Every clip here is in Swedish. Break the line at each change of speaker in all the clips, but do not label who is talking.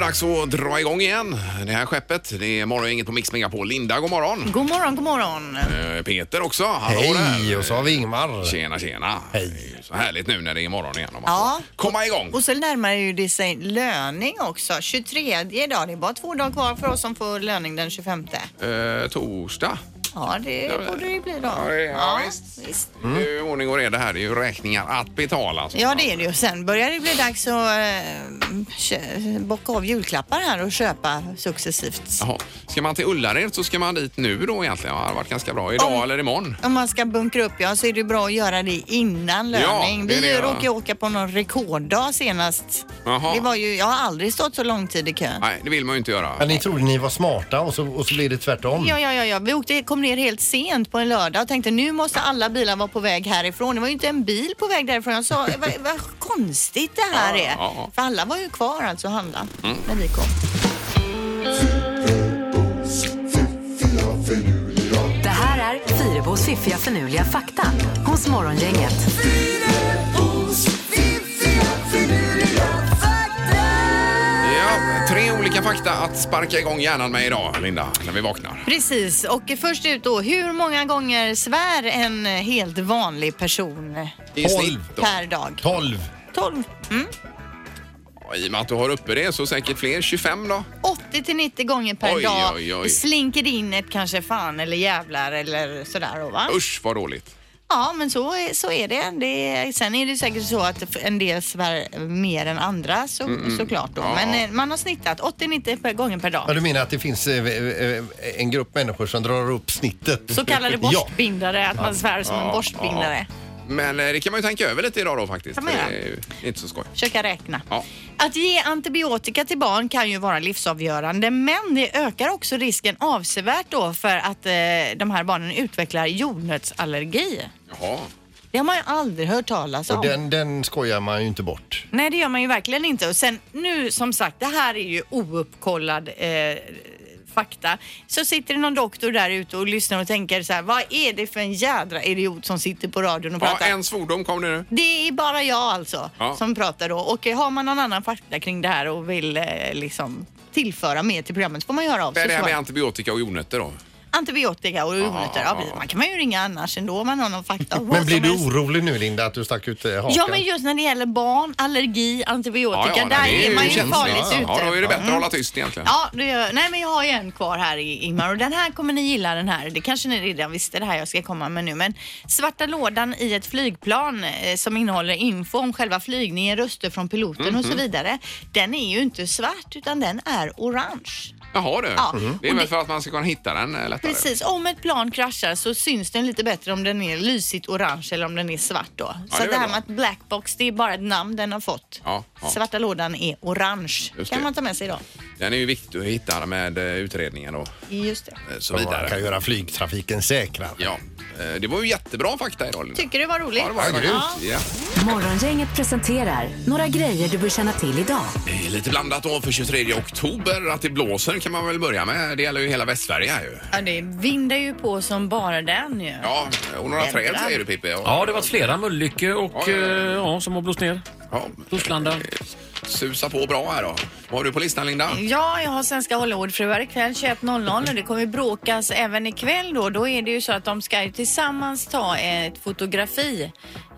dags att dra igång igen det här skeppet. Det är morgongänget på Mix Megapol. Linda, god morgon.
God morgon, god morgon.
Eh, Peter också. Hallå
Mm. Hej!
där.
Och så har vi Ingmar.
Tjena, tjena.
Hej.
Så härligt nu när det är morgon igen. Om man
Ja.
får Komma igång.
Och så närmar ju det sig löning också. 23 idag. Det är bara två dagar kvar för oss som får löning den 25.
Eh, torsdag.
Ja, det borde det bli då.
Ja, det- ja, visst.
Mm.
Det är ju ordning och reda här. Det är ju räkningar att betala. så.
Ja, det är det ju. Sen börjar det bli dags att eh, kö- bocka av julklappar här och köpa successivt.
Jaha. Ska man till Ullared så ska man dit nu då egentligen. Ja, Det har varit ganska bra. Idag
Om-
eller imorgon.
Om man ska bunkra upp ja, så är det bra att göra det innan löning.
det är det,
Vi
ja.
råkade åka på någon rekorddag senast.
Jaha.
Det var ju, jag har aldrig stått så lång tid i kö.
Nej, det vill man ju inte göra.
Men ni trodde ni var smarta och så, och så blev det tvärtom.
Ja, ja, ja, ja. Vi åkte, kom ner helt sent på en lördag och tänkte nu måste alla bilar vara på väg härifrån. Det var ju inte en bil på väg därifrån. Jag sa vad, vad konstigt det här
Ja,
är.
ja, ja. Mm.
För alla var ju kvar alltså och handla när vi kom.
Det här är Fyrabos fiffiga förnuliga fakta hos Morgongänget.
Ja, tre olika fakta att sparka igång hjärnan med idag, Linda, när vi vaknar.
Precis, och först ut då. Hur många gånger svär en helt vanlig person
I
Tolv.
snitt då.
per dag?
12.
12. Mm.
I och med att du har uppe det så säkert fler. 25 då?
80 till 90 gånger per
Oj,
dag
oj, oj.
slinker det in ett kanske fan eller jävlar eller sådär då va?
Usch vad dåligt.
Ja, men så, är- så är det. det. är- Sen är det säkert så att en del svär mer än andra så, såklart. Då.
Mm, Ja.
Men eh, man har snittat 80-90 per- gånger per
Ja,
dag.
du menar att det finns eh, eh, en grupp människor som drar upp snittet?
Så kallade
Ja.
borstbindare, att man svär som en
Ja,
borstbindare.
Men eh, det kan man ju tänka över lite idag då faktiskt.
Kan man
för
göra.
det är ju inte så skoj.
Försöka räkna.
Ja.
Att ge antibiotika till barn kan ju vara livsavgörande men det ökar också risken avsevärt då för att eh, de här barnen utvecklar jordnötsallergi.
Jaha.
Det har man ju aldrig hört talas om.
Och den, den skojar man ju inte bort.
Nej, det gör man ju verkligen inte. Och sen nu som sagt, det här är ju ouppkollad eh, fakta. Så sitter det någon doktor där ute och lyssnar och tänker så här, vad är det för en jädra idiot som sitter på radion och
Ja,
pratar?
en svordom kom det nu.
Det är bara jag alltså
Ja.
som pratar då. Och eh, har man någon annan fakta kring det här och vill eh, liksom tillföra mer till programmet så får man göra av
Det är
sig.
det här
så.
med antibiotika och jordnötter då.
Antibiotika och jordnötter.
ja,
Ja,
ja.
man kan man ju ringa annars ändå om man har någon fakta. Vad
Men blir
som
du
helst.
orolig nu Linda att du stack ut eh, hakan?
Ja men just när det gäller barn, allergi, antibiotika, där
nej, det
är man ju
känsligt.
farligt
ja,
ute.
alltså. Ja, då är det bättre att hålla tyst egentligen.
Ja, det gör, nej men jag har ju en kvar här i Ingmar och den här kommer ni gilla den här. Det kanske ni redan visste det här jag ska komma med nu men svarta lådan i ett flygplan eh, som innehåller info om själva flygningen, röster från piloten och
Mhm.
så vidare. Den är ju inte svart utan den är orange.
Jaha du. Mm.
Ja.
Det är
Och
väl
det-
för att man ska kunna hitta den eh, lättare.
Precis, om ett plan kraschar så syns den lite bättre om den är lysigt orange eller om den är svart då.
det
så
är
det, här
bra.
med att blackbox, det är bara ett namn den har fått.
Ja, ja.
Svarta lådan är orange.
Just
kan
det.
man ta med sig idag.
Den är ju viktig att hitta med eh, utredningen och
Just det.
eh, så
Så man kan
vidare.
göra flygtrafiken säkrare.
Ja, eh, det var ju jättebra fakta idag Linda.
Tycker du var roligt?
Ja, det var
Ja,
grymt. Ja.
Morgongänget presenterar några grejer du bör känna till idag.
Eh, Lite blandat då för 23 oktober. Att det blåser kan man väl börja med. Det gäller ju hela Västsverige här ju.
Ja, det vindar ju på som bara den ju.
Ja, och några
Jädrar.
träd säger du Pippi. Och-
Ja, det har varit flera mullikor och
Ja,
ja,
ja, ja.
ja, som har blåst ner.
Ja,
Torslanda.
susa på bra här då. Vad har du på listan Linda?
Ja, jag har Svenska Hollywoodfruar ikväll 21.00 och det kommer bråkas även ikväll då. Då är det ju så att de ska ju tillsammans ta ett fotografi.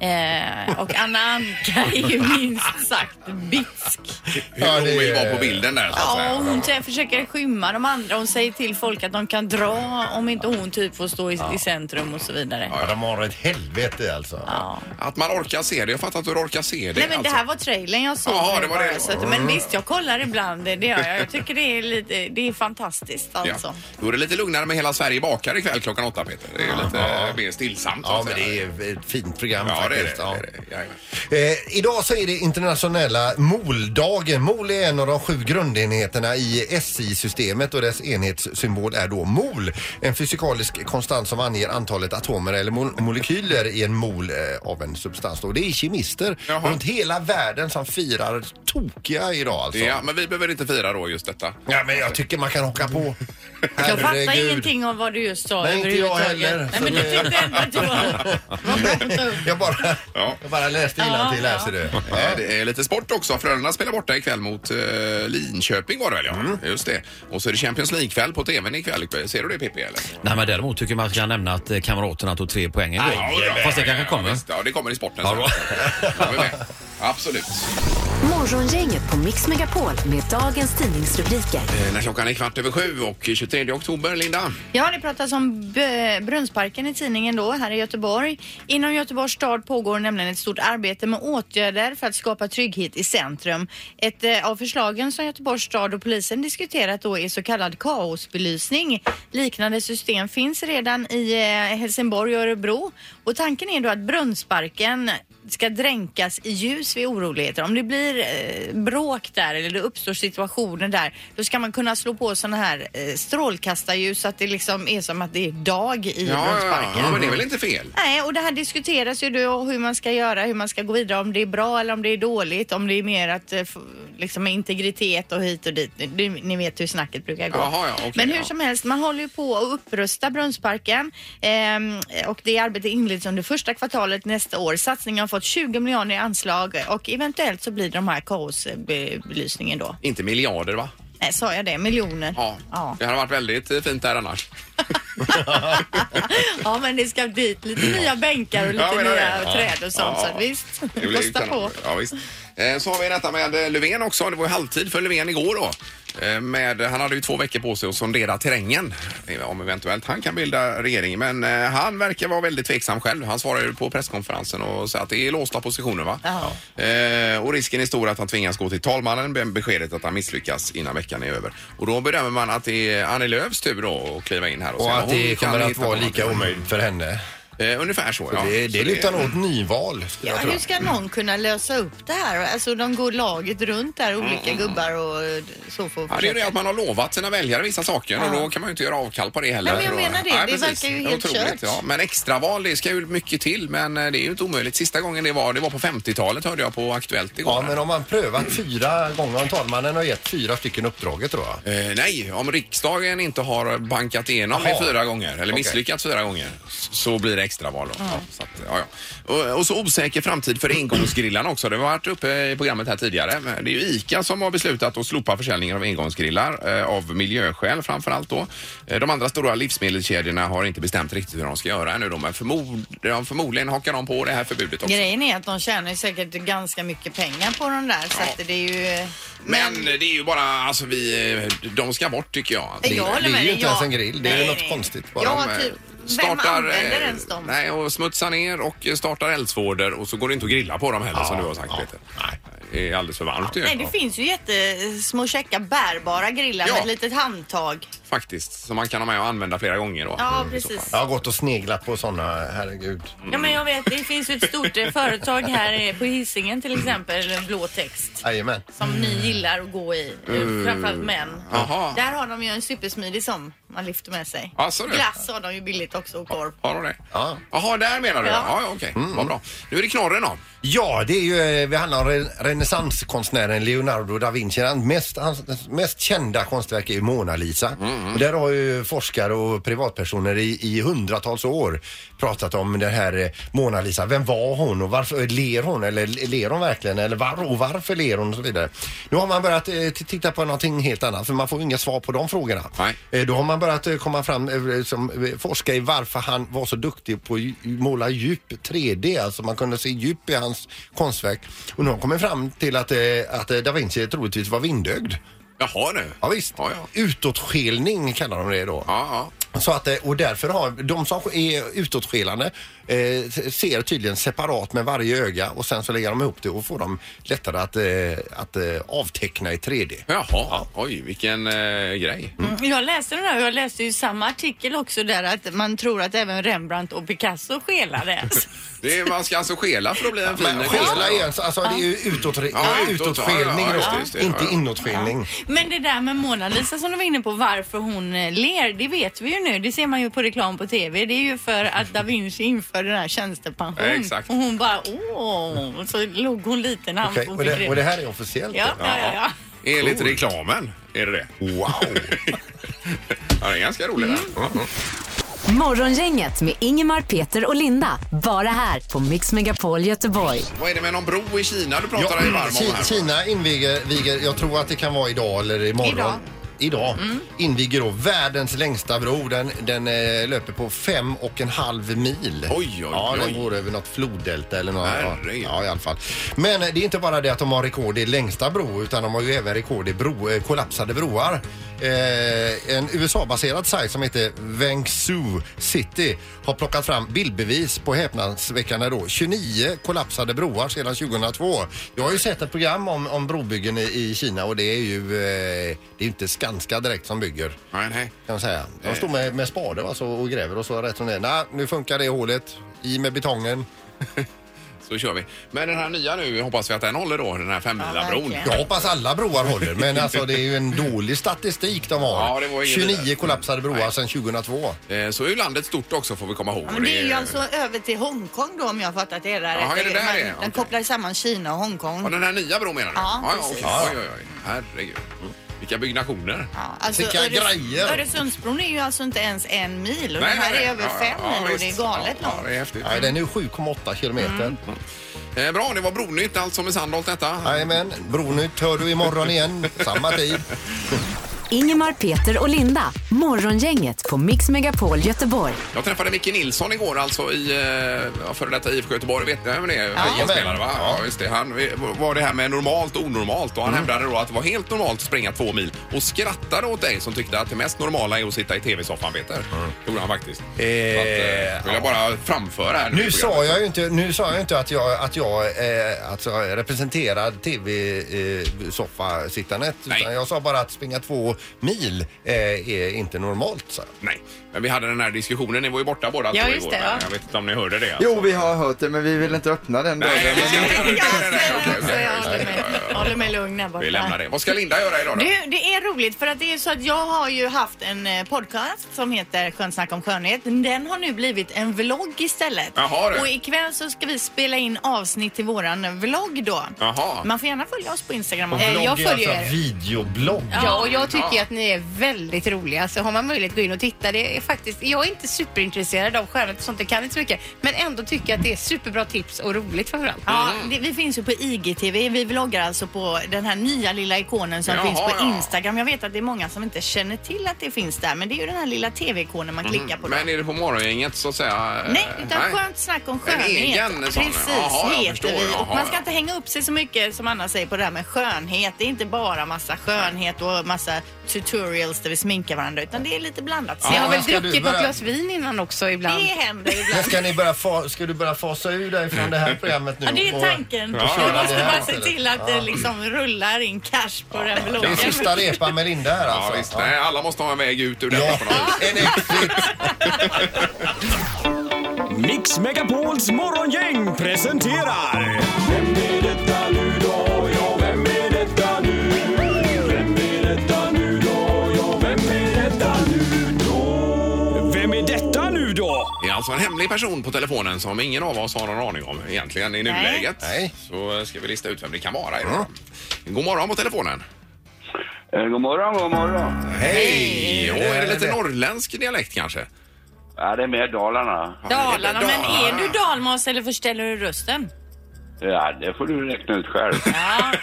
Eh, och Anna Anka är ju minst sagt bitsk.
Hur
Ja, det
hon vill
är-
vara på bilden där så att
Ja, och
säga.
hon t- försöker skymma de andra. Hon säger till folk att de kan dra om inte hon typ får stå i, i centrum och så vidare.
Ja, de har ett helvete alltså.
Ja.
Att man orkar se det. Jag fattar inte hur du orkar se det. alltså.
Nej men det här var trailern jag såg.
Jaha,
nu
det var
bara,
det. Mm.
Så att, men visst, jag kollar ibland. Det gör jag. Jag tycker det är, lite, det är fantastiskt alltså.
Ja. Då är det lite lugnare med Hela Sverige bakar ikväll klockan åtta Peter. Det är lite eh, mer stillsamt. så
Ja,
att
men
säga.
det är ett fint program
Ja, det är
faktiskt.
det. det,
Ja.
är det. Jajamän.
Eh, idag så är det internationella moldagen. Mol är en av de sju grundenheterna i SI-systemet och dess enhetssymbol är då mol. En fysikalisk konstant som anger antalet atomer eller mol- molekyler i en mol eh, av en substans. Då. Det är kemister
Jaha.
runt hela världen som firar tokiga idag alltså.
Ja, men vi behöver inte fira då just detta.
Ja, men jag tycker man kan haka på.
Jag fattar ingenting av vad du just sa
Nej, inte jag
överhuvudtaget.
heller.
Nej, men du tyckte ändå att det var... vad skönt att-
Jag bara,
Ja.
jag bara läste innantill här ser du.
Eh, Det är lite sport också. Frölunda spelar borta ikväll mot eh, Linköping var det väl ja?
Mm.
Just det. Och så är det Champions League-kväll på TVn ikväll. Ser du det Pippi eller?
Nej, men däremot tycker jag man ska nämna att eh, kamraterna tog tre poäng igår. Fast det kanske kommer.
visst. Ja, det kommer i sporten.
Ja,
sen.
bra.
Då är vi med. Absolut.
Morgongänget på Mix Megapol med dagens tidningsrubriker.
Eh, När klockan är kvart över sju och 23 oktober, Linda.
Ja, det pratas om B- Brunnsparken i tidningen då, här i Göteborg. Inom Göteborgs stad pågår nämligen ett stort arbete med åtgärder för att skapa trygghet i centrum. Ett eh, av förslagen som Göteborgs stad och polisen diskuterat då är så kallad kaosbelysning. Liknande system finns redan i eh, Helsingborg och Örebro. Och tanken är då att Brunnsparken ska dränkas i ljus vid oroligheter. Om det blir eh, bråk där eller det uppstår situationer där, då ska man kunna slå på sådana här eh, strålkastarljus så att det liksom är som att det är dag i
Ja, ja,
Brunnsparken.
ja, men det är väl inte fel?
Nej, och det här diskuteras ju då hur man ska göra, hur man ska gå vidare, om det är bra eller om det är dåligt, om det är mer att eh, f- liksom integritet och hit och dit. Ni, ni vet hur snacket brukar gå.
Jaha, ja, okej,
Men hur
ja.
som som helst, man håller ju på att upprusta Brunnsparken ehm, och det arbetet inleds under första kvartalet nästa år. Satsningen har fått 20 miljoner i anslag och eventuellt så blir det de här kaosbelysningen då.
Inte miljarder, va?
Nej, sa jag det? Miljoner?
Ja.
Ja,
Det hade varit väldigt eh, fint där annars.
Ja, men det ska dit lite nya bänkar och lite
Ja, men det är
nya
det. Ja.
träd och sånt.
Ja.
Så att visst,
Det blir ju
kosta på.
kanon. Ja, visst. Eh, Så har vi detta med eh, Löfven också. Det var ju halvtid för Löfven igår då. Eh, Med, han hade ju två veckor på sig att sondera terrängen eh, om eventuellt han kan bilda regering. Men eh, han verkar vara väldigt tveksam själv. Han svarade ju på presskonferensen och sa att det är låsta positioner va?
Ja.
Eh, Och risken är stor att han tvingas gå till talmannen med beskedet att han misslyckas innan veckan är över. Och då bedömer man att det är Annie Lööfs tur då att kliva in här och,
Och
säga,
att
hon
det
kan
kommer att
hitta
vara
på
lika
någonting.
omöjligt för henne.
Eh, Ungefär så ja.
Det,
Så
det lutar nog åt nyval. skulle
Ja,
jag tro.
hur ska någon kunna lösa upp det här? Alltså de går laget runt där, olika
Mm.
gubbar och eh, så får
Ja, det är ju det att man har lovat sina väljare vissa saker och då kan man ju inte göra avkall på det heller.
Nej, men jag menar det.
Nej,
Det
precis.
verkar ju
är
helt
otroligt,
kört.
Ja. Men extraval, det ska ju mycket till men eh, det är ju inte omöjligt. Sista gången det var, det var på 50-talet hörde jag på Aktuellt igår.
Ja, men om man prövat fyra gånger, om talmannen har gett fyra stycken uppdraget tror jag.
Eh, nej, om riksdagen inte har bankat igenom
Jaha.
det fyra gånger eller
Okej.
misslyckats fyra gånger s- så blir det extraval. Då. Ja, så att, ja, ja. Och, och så osäker framtid för engångsgrillarna också. Det har varit uppe i programmet här tidigare. Men Det är ju ICA som har beslutat att slopa försäljningen av engångsgrillar eh, av miljöskäl framför allt då. Eh, De andra stora livsmedelskedjorna har inte bestämt riktigt hur de ska göra ännu då, men förmod, de förmodligen hakar de på det här förbudet också.
Grejen är att de tjänar ju säkert ganska mycket pengar på den där så
Ja.
att det är ju... eh,
Men det är ju bara, alltså vi, eh, de ska bort tycker jag. Alltså,
Jag håller
det är
med
ju
dig,
inte
jag-
ens en grill, det är ju
Nej,
något
nej.
konstigt bara.
Ja,
De, eh,
typ. Vem
startar,
använder
eh,
ens dem?
Nej, och smutsar ner och eh, startar eldsvådor och så går det inte att grilla på dem heller som du har sagt Peter. Nej. Det är alldeles för varmt ju.
Nej, det finns ju jättesmå käcka bärbara grillar
Ja.
med ett litet handtag.
Faktiskt, som man kan ha med och använda flera gånger då.
Ja,
Mm, i så fall.
precis.
Jag har gått och sneglat på sådana, herregud.
Ja, men jag vet, det finns ju ett stort eh, företag här eh, på Hisingen till exempel, en blå text.
Jajamän.
Som ni gillar att gå i, eh, framförallt män.
Mm. Jaha.
Där har de ju en supersmidig som man lyfter med sig.
Ja, så du.
Glass har de ju billigt också och korv.
Har de det?
Ja. Mm.
Jaha, där menar du? Ja,
Ja.
ja okej. Vad bra. Nu är det knorren då.
Ja, det är ju, eh, vi handlar om re- renässanskonstnären Leonardo da Vinci. Hans mest, hans mest kända konstverk är ju Mona Lisa. Och där har ju forskare och privatpersoner i, i hundratals år pratat om den här eh, Mona Lisa. Vem var hon och varför ler hon? Eller ler hon verkligen? Eller var och varför ler hon? Och så vidare. Nu har man börjat eh, t- titta på någonting helt annat för man får ju inga svar på de frågorna.
Nej.
Eh, Då har man börjat eh, komma fram, eh, som, eh, forska i varför han var så duktig på att ju- måla djup 3D, alltså man kunde se djup i hans konstverk. Och nu har man kommit fram till att, eh, att eh, da Vinci troligtvis var vindögd.
Jaha nu.
Ja, visst.
Ja, ja.
Utåtskälning kallar de det då.
Ja, ja.
Så att, eh, och därför har de som är utåtskilande eh, ser tydligen separat med varje öga och sen så lägger de ihop det och får dem lättare att, eh, att eh, avteckna i 3D.
Jaha, oj vilken eh, grej.
Mm.
Mm, Jag läste den här och jag läste ju samma artikel också där att man tror att även Rembrandt och Picasso skelade.
Det är, man ska alltså skela för att bli en fin
Men
konstnär.
skela är alltså, alltså det är ju utåt,
Ja, utåt,
utåtskälning
ja, ja,
då,
just det, just det,
inte
ja, ja.
inåtskälning.
Men det där med Mona Lisa som du var inne på, varför hon eh, ler, det vet vi ju ju nu, det ser man ju på reklam på TV. Det är ju för att da Vinci införde den här tjänstepension.
Ja, exakt.
Och hon bara åh, och så låg hon lite när han
Okej,
tog
och, det, och det här är officiellt?
Ja, ja, ja. ja.
Enligt reklamen är det det.
Wow!
Ja, det är ganska roligt. Mm.
Morgongänget med Ingemar, Peter och Linda. Bara här på Mix Megapol Göteborg.
Vad är det med någon bro i Kina du pratar
Ja,
dig varm om
Ki-
här?
Kina inviger, viger, jag tror att det kan vara idag eller imorgon.
Idag. Mm.
Idag inviger då världens längsta bro. Den, den eh, löper på fem och en halv mil.
Oj, oj,
Ja,
oj.
den går över något floddelta eller något.
Herregud.
Ja, i alla fall. Men eh, det är inte bara det att de har rekord i längsta bro utan de har ju även rekord i bro, eh, kollapsade broar. Eh, en USA-baserad sajt som heter Wenzhou City har plockat fram bildbevis på häpnadsväckande då 29 kollapsade broar sedan 2002. Jag har ju sett ett program om, om brobyggen i, i Kina och det är ju eh, det är inte Skanska direkt som bygger
Nej, nej.
kan man säga. De står med, med spade alltså, och gräver och så rätt som det är. Nej, nu funkar det hålet. I med betongen.
Så kör vi. Men den här nya nu, hoppas vi att den håller då, den här femmilabron.
verkligen.
Jag hoppas alla broar håller, men alltså det är ju en dålig statistik de har.
Ja, det var ingen
29
vidare.
kollapsade broar
Nej.
sedan 2002.
Eh, Så är ju landet stort också får vi komma ihåg.
Ja, men det är ju
ju-
alltså över till Hongkong då om jag har fattat det rätt.
Jaha, är det där
Man-
det är?
Den
Okej.
kopplar samman Kina och Hongkong.
Ja, den här nya bron menar du?
Ja,
ja,
precis.
okej. Oj, oj, oj. Herregud. Mm. Vilka byggnationer.
Ja, alltså
Vilka grejer!
Öresundsbron är ju alltså inte ens en mil och den här är över
Ja,
fem
ja,
mil och det är
visst.
galet
ja, ja,
långt.
det är häftigt.
Nej, den är ju 7,8 kilometer.
Eh, Bra, det var Bronytt alltså med Sandholt detta.
Jajamän, Bronytt hör du imorgon igen, samma tid.
Ingemar, Peter och Linda. Morgongänget på Mix Megapol Göteborg.
Jag träffade Micke Nilsson igår alltså i eh, ja, före detta IFK Göteborg. Vet ni vem det är? Friidrottsspelare va? Ja, just det. Han eh, var det här med normalt och onormalt och han hävdade då att det var helt normalt att springa två mil och skrattade åt dig som tyckte att det mest normala är att sitta i tv-soffan Peter. Gjorde han faktiskt. Så att, eh, vill jag bara framföra här.
Nu sa jag ju inte, nu sa jag inte att jag, att jag eh, alltså, representerar tv-soffasittandet.
Nej.
utan jag sa bara att springa två mil eh, är inte normalt. Så.
Nej, men vi hade den här diskussionen. Ni var ju borta båda
Ja,
två
just
igår.
det, ja.
men Jag vet inte om ni hörde det.
Jo, vi har hört det, men vi vill inte öppna den
Nej,
dörren.
vi ska inte göra det. Nej, nej,
Jag
nej, okej,
alltså,
okej,
jag
just
håller
det.
mig-
Ja, ja, ja.
håller mig lugn här borta.
Vi lämnar det. Vad ska Linda göra idag då?
Du, det är roligt för att det är så att jag har ju haft en eh, podcast som heter Skönt snack om skönhet. Den har nu blivit en vlogg istället.
Jaha, du.
Och ikväll så ska vi spela in avsnitt till våran vlogg då.
Jaha.
Man får gärna följa oss på Instagram.
Och
också.
Eh,
vlogg
jag
är
följer
alltså
er.
videoblogg.
Ja, och jag tycker
Ja.
att ni är väldigt roliga. Så har man möjlighet att gå in och titta. Det är faktiskt, jag är inte superintresserad av skönhet och sånt. Jag kan inte så mycket. Men ändå tycker jag att det är superbra tips och roligt framförallt.
Ja, det, vi finns ju på IGTV. Vi vloggar alltså på den här nya lilla ikonen som
Jaha,
finns på
ja.
Instagram. Jag vet att det är många som inte känner till att det finns där, men det är ju den här lilla TV-ikonen man klickar på. då.
Mm, Men är det på morgongänget så att säga? eh,
Nej, utan skönt snack om
En
skönhet.
egen sån.
Precis,
Jaha, jag
heter
förstår.
vi.
Jaha,
Och man ska
ja.
inte hänga upp sig så mycket som Anna säger på det här med skönhet. Det är inte bara massa skönhet och massa tutorials där vi sminkar varandra, utan det är lite blandat. Så
Jag har
Ja,
väl
ska du
druckit
börja?
något glas vin innan också ibland.
Det händer
Men
ibland.
ska, ni börja fa- ska du börja fasa ur dig från det här programmet nu?
Ja, det
och-
är tanken.
och köra
Vi
det
måste
här
bara se
istället?
till att det liksom rullar in cash på den
Det är
bloggen.
sista repan med Linda här
Ja,
alltså.
visst. Nej, alla måste ha en väg ut ur detta
Ja,
på något vis.
en exit.
Mix Megapols morgongäng presenterar... Vem är detta nu då? Ja, vem är detta nu? Vem är detta nu då? Ja, vem är detta nu då? Vem är detta nu då?
Det är alltså en hemlig person på telefonen som ingen av oss har någon aning om egentligen i nuläget.
Nej.
Så eh, ska vi lista ut vem det kan vara idag. God morgon på telefonen.
Eh, God morgon, god morgon.
Hej! Och är det lite
det-
norrländsk dialekt kanske?
Ja, det är mer Dalarna.
Dalarna, men är du dalmas eller förställer du rösten?
Ja, det får du räkna ut själv.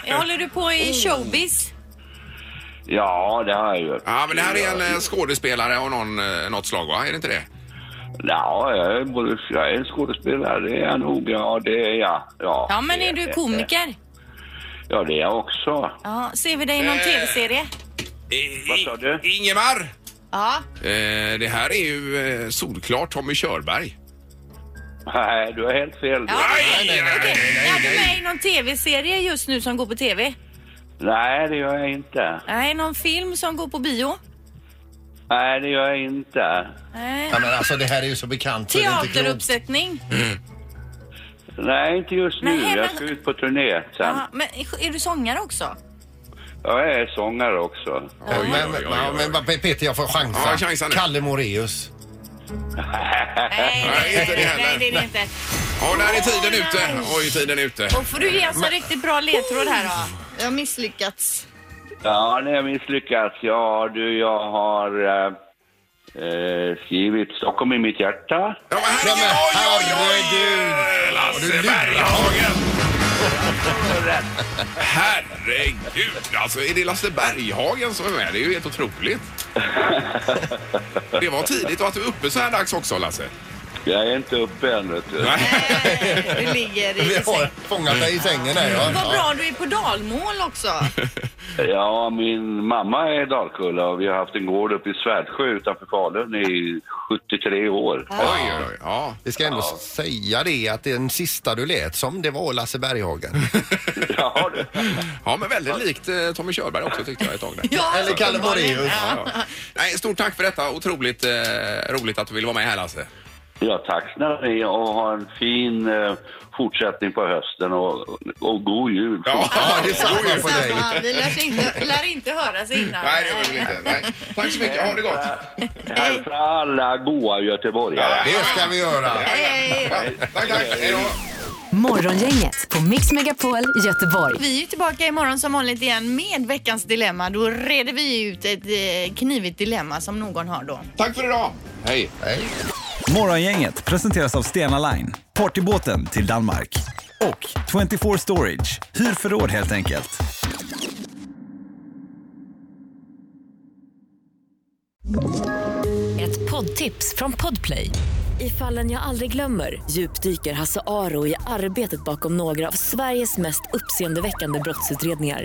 Ja, håller du på i showbiz?
Ja, det har jag gjort.
Ja, men det här är en eh, skådespelare av någon, eh, något slag, va? Är det inte det?
Ja, jag är, både, jag är skådespelare, det är jag nog. Ja, det är jag. Ja,
Ja, men
det
är du
det.
komiker?
Ja, det är jag också.
Ja, ser vi dig i någon
Eh.
tv-serie?
Vad sa du?
Ingemar!
Ja.
Eh, det här är ju eh, solklart Tommy Körberg.
Nej, du har helt fel.
Ja,
Nej, nej, nej,
Okej,
nej,
är du
nej.
med i någon tv-serie just nu som går på tv?
Nej, det gör jag inte.
Nej, någon film som går på bio?
Nej, det gör jag inte.
Nej.
Ja, men alltså det här är ju så bekant så det är inte klokt.
Teateruppsättning?
Nej, inte just nu.
Nej, men-
Jag ska ut på turné sen.
Ja, men är du sångare också?
Jag är sångare också.
Ja, men, ja, men vad- Peter, jag får chansa.
Ja, chansa nu.
Kalle Moreus.
Nej,
Nej,
nej,
inte det
nej,
heller.
det är det inte.
Ja, där är tiden ute. Oj, tiden är ute.
Och får du ge oss en riktigt bra ledtråd här då. Jag har misslyckats.
Ja, när jag misslyckats. Ja, du, jag har eh, eh, skrivit Stockholm i mitt hjärta.
Ja, men herregud! Oj, oj, oj! Lasse Berghagen! Herregud! Alltså, är det Lasse Berghagen som är med? Det är ju helt otroligt. Det var tidigt och att du är uppe så här dags också, Lasse.
Jag är inte uppe än, vet du.
Du ligger
Vi
i
har
säng.
fångat dig i sängen här.
Mm.
Ja.
Vad bra du är på dalmål också.
Ja, min mamma är Dalkulla och vi har haft en gård uppe i Svärdsjö utanför Falun i 73 år.
Oj, oj, oj. Ja.
Vi ska ändå säga det att den sista du lät som det var Lasse Berghagen.
Ja, du.
ja, men väldigt likt eh, Tommy Körberg också tyckte jag ett tag. Där.
Ja,
Eller Kalle
uppenbarligen.
Moraeus.
Ja.
Ja. Nej, stort tack för detta. Otroligt eh, roligt att du ville vara med här, Lasse.
ja tack snälla ni och ha en fin eh, fortsättning på hösten och, och god jul.
Ja,
det är samma
god jul.
på dig.
Samma, vi lär inte, lär inte höras innan.
Nej, det gör vi väl inte. Nej. Tack så mycket. Ha det gott.
Hälsa alla goa göteborgare.
Det ska vi göra.
Hej, hej.
Tack, tack. Hej då.
Morgongänget på Mix Megapol Göteborg.
Vi är ju tillbaka imorgon som vanligt igen med veckans dilemma. Då reder vi ut ett eh, knivigt dilemma som någon har då.
Tack för idag. Hej.
Morgongänget presenteras av Stena Line, partybåten till Danmark. Och 24 Storage, hyr förråd helt enkelt.
Ett poddtips från Podplay. I fallen jag aldrig glömmer djupdyker Hasse Aro i arbetet bakom några av Sveriges mest uppseendeväckande brottsutredningar.